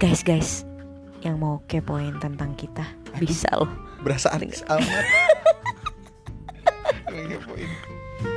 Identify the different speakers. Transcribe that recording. Speaker 1: guys guys yang mau kepoin tentang kita bisa loh
Speaker 2: Berasa aneh amat. Lagi poin.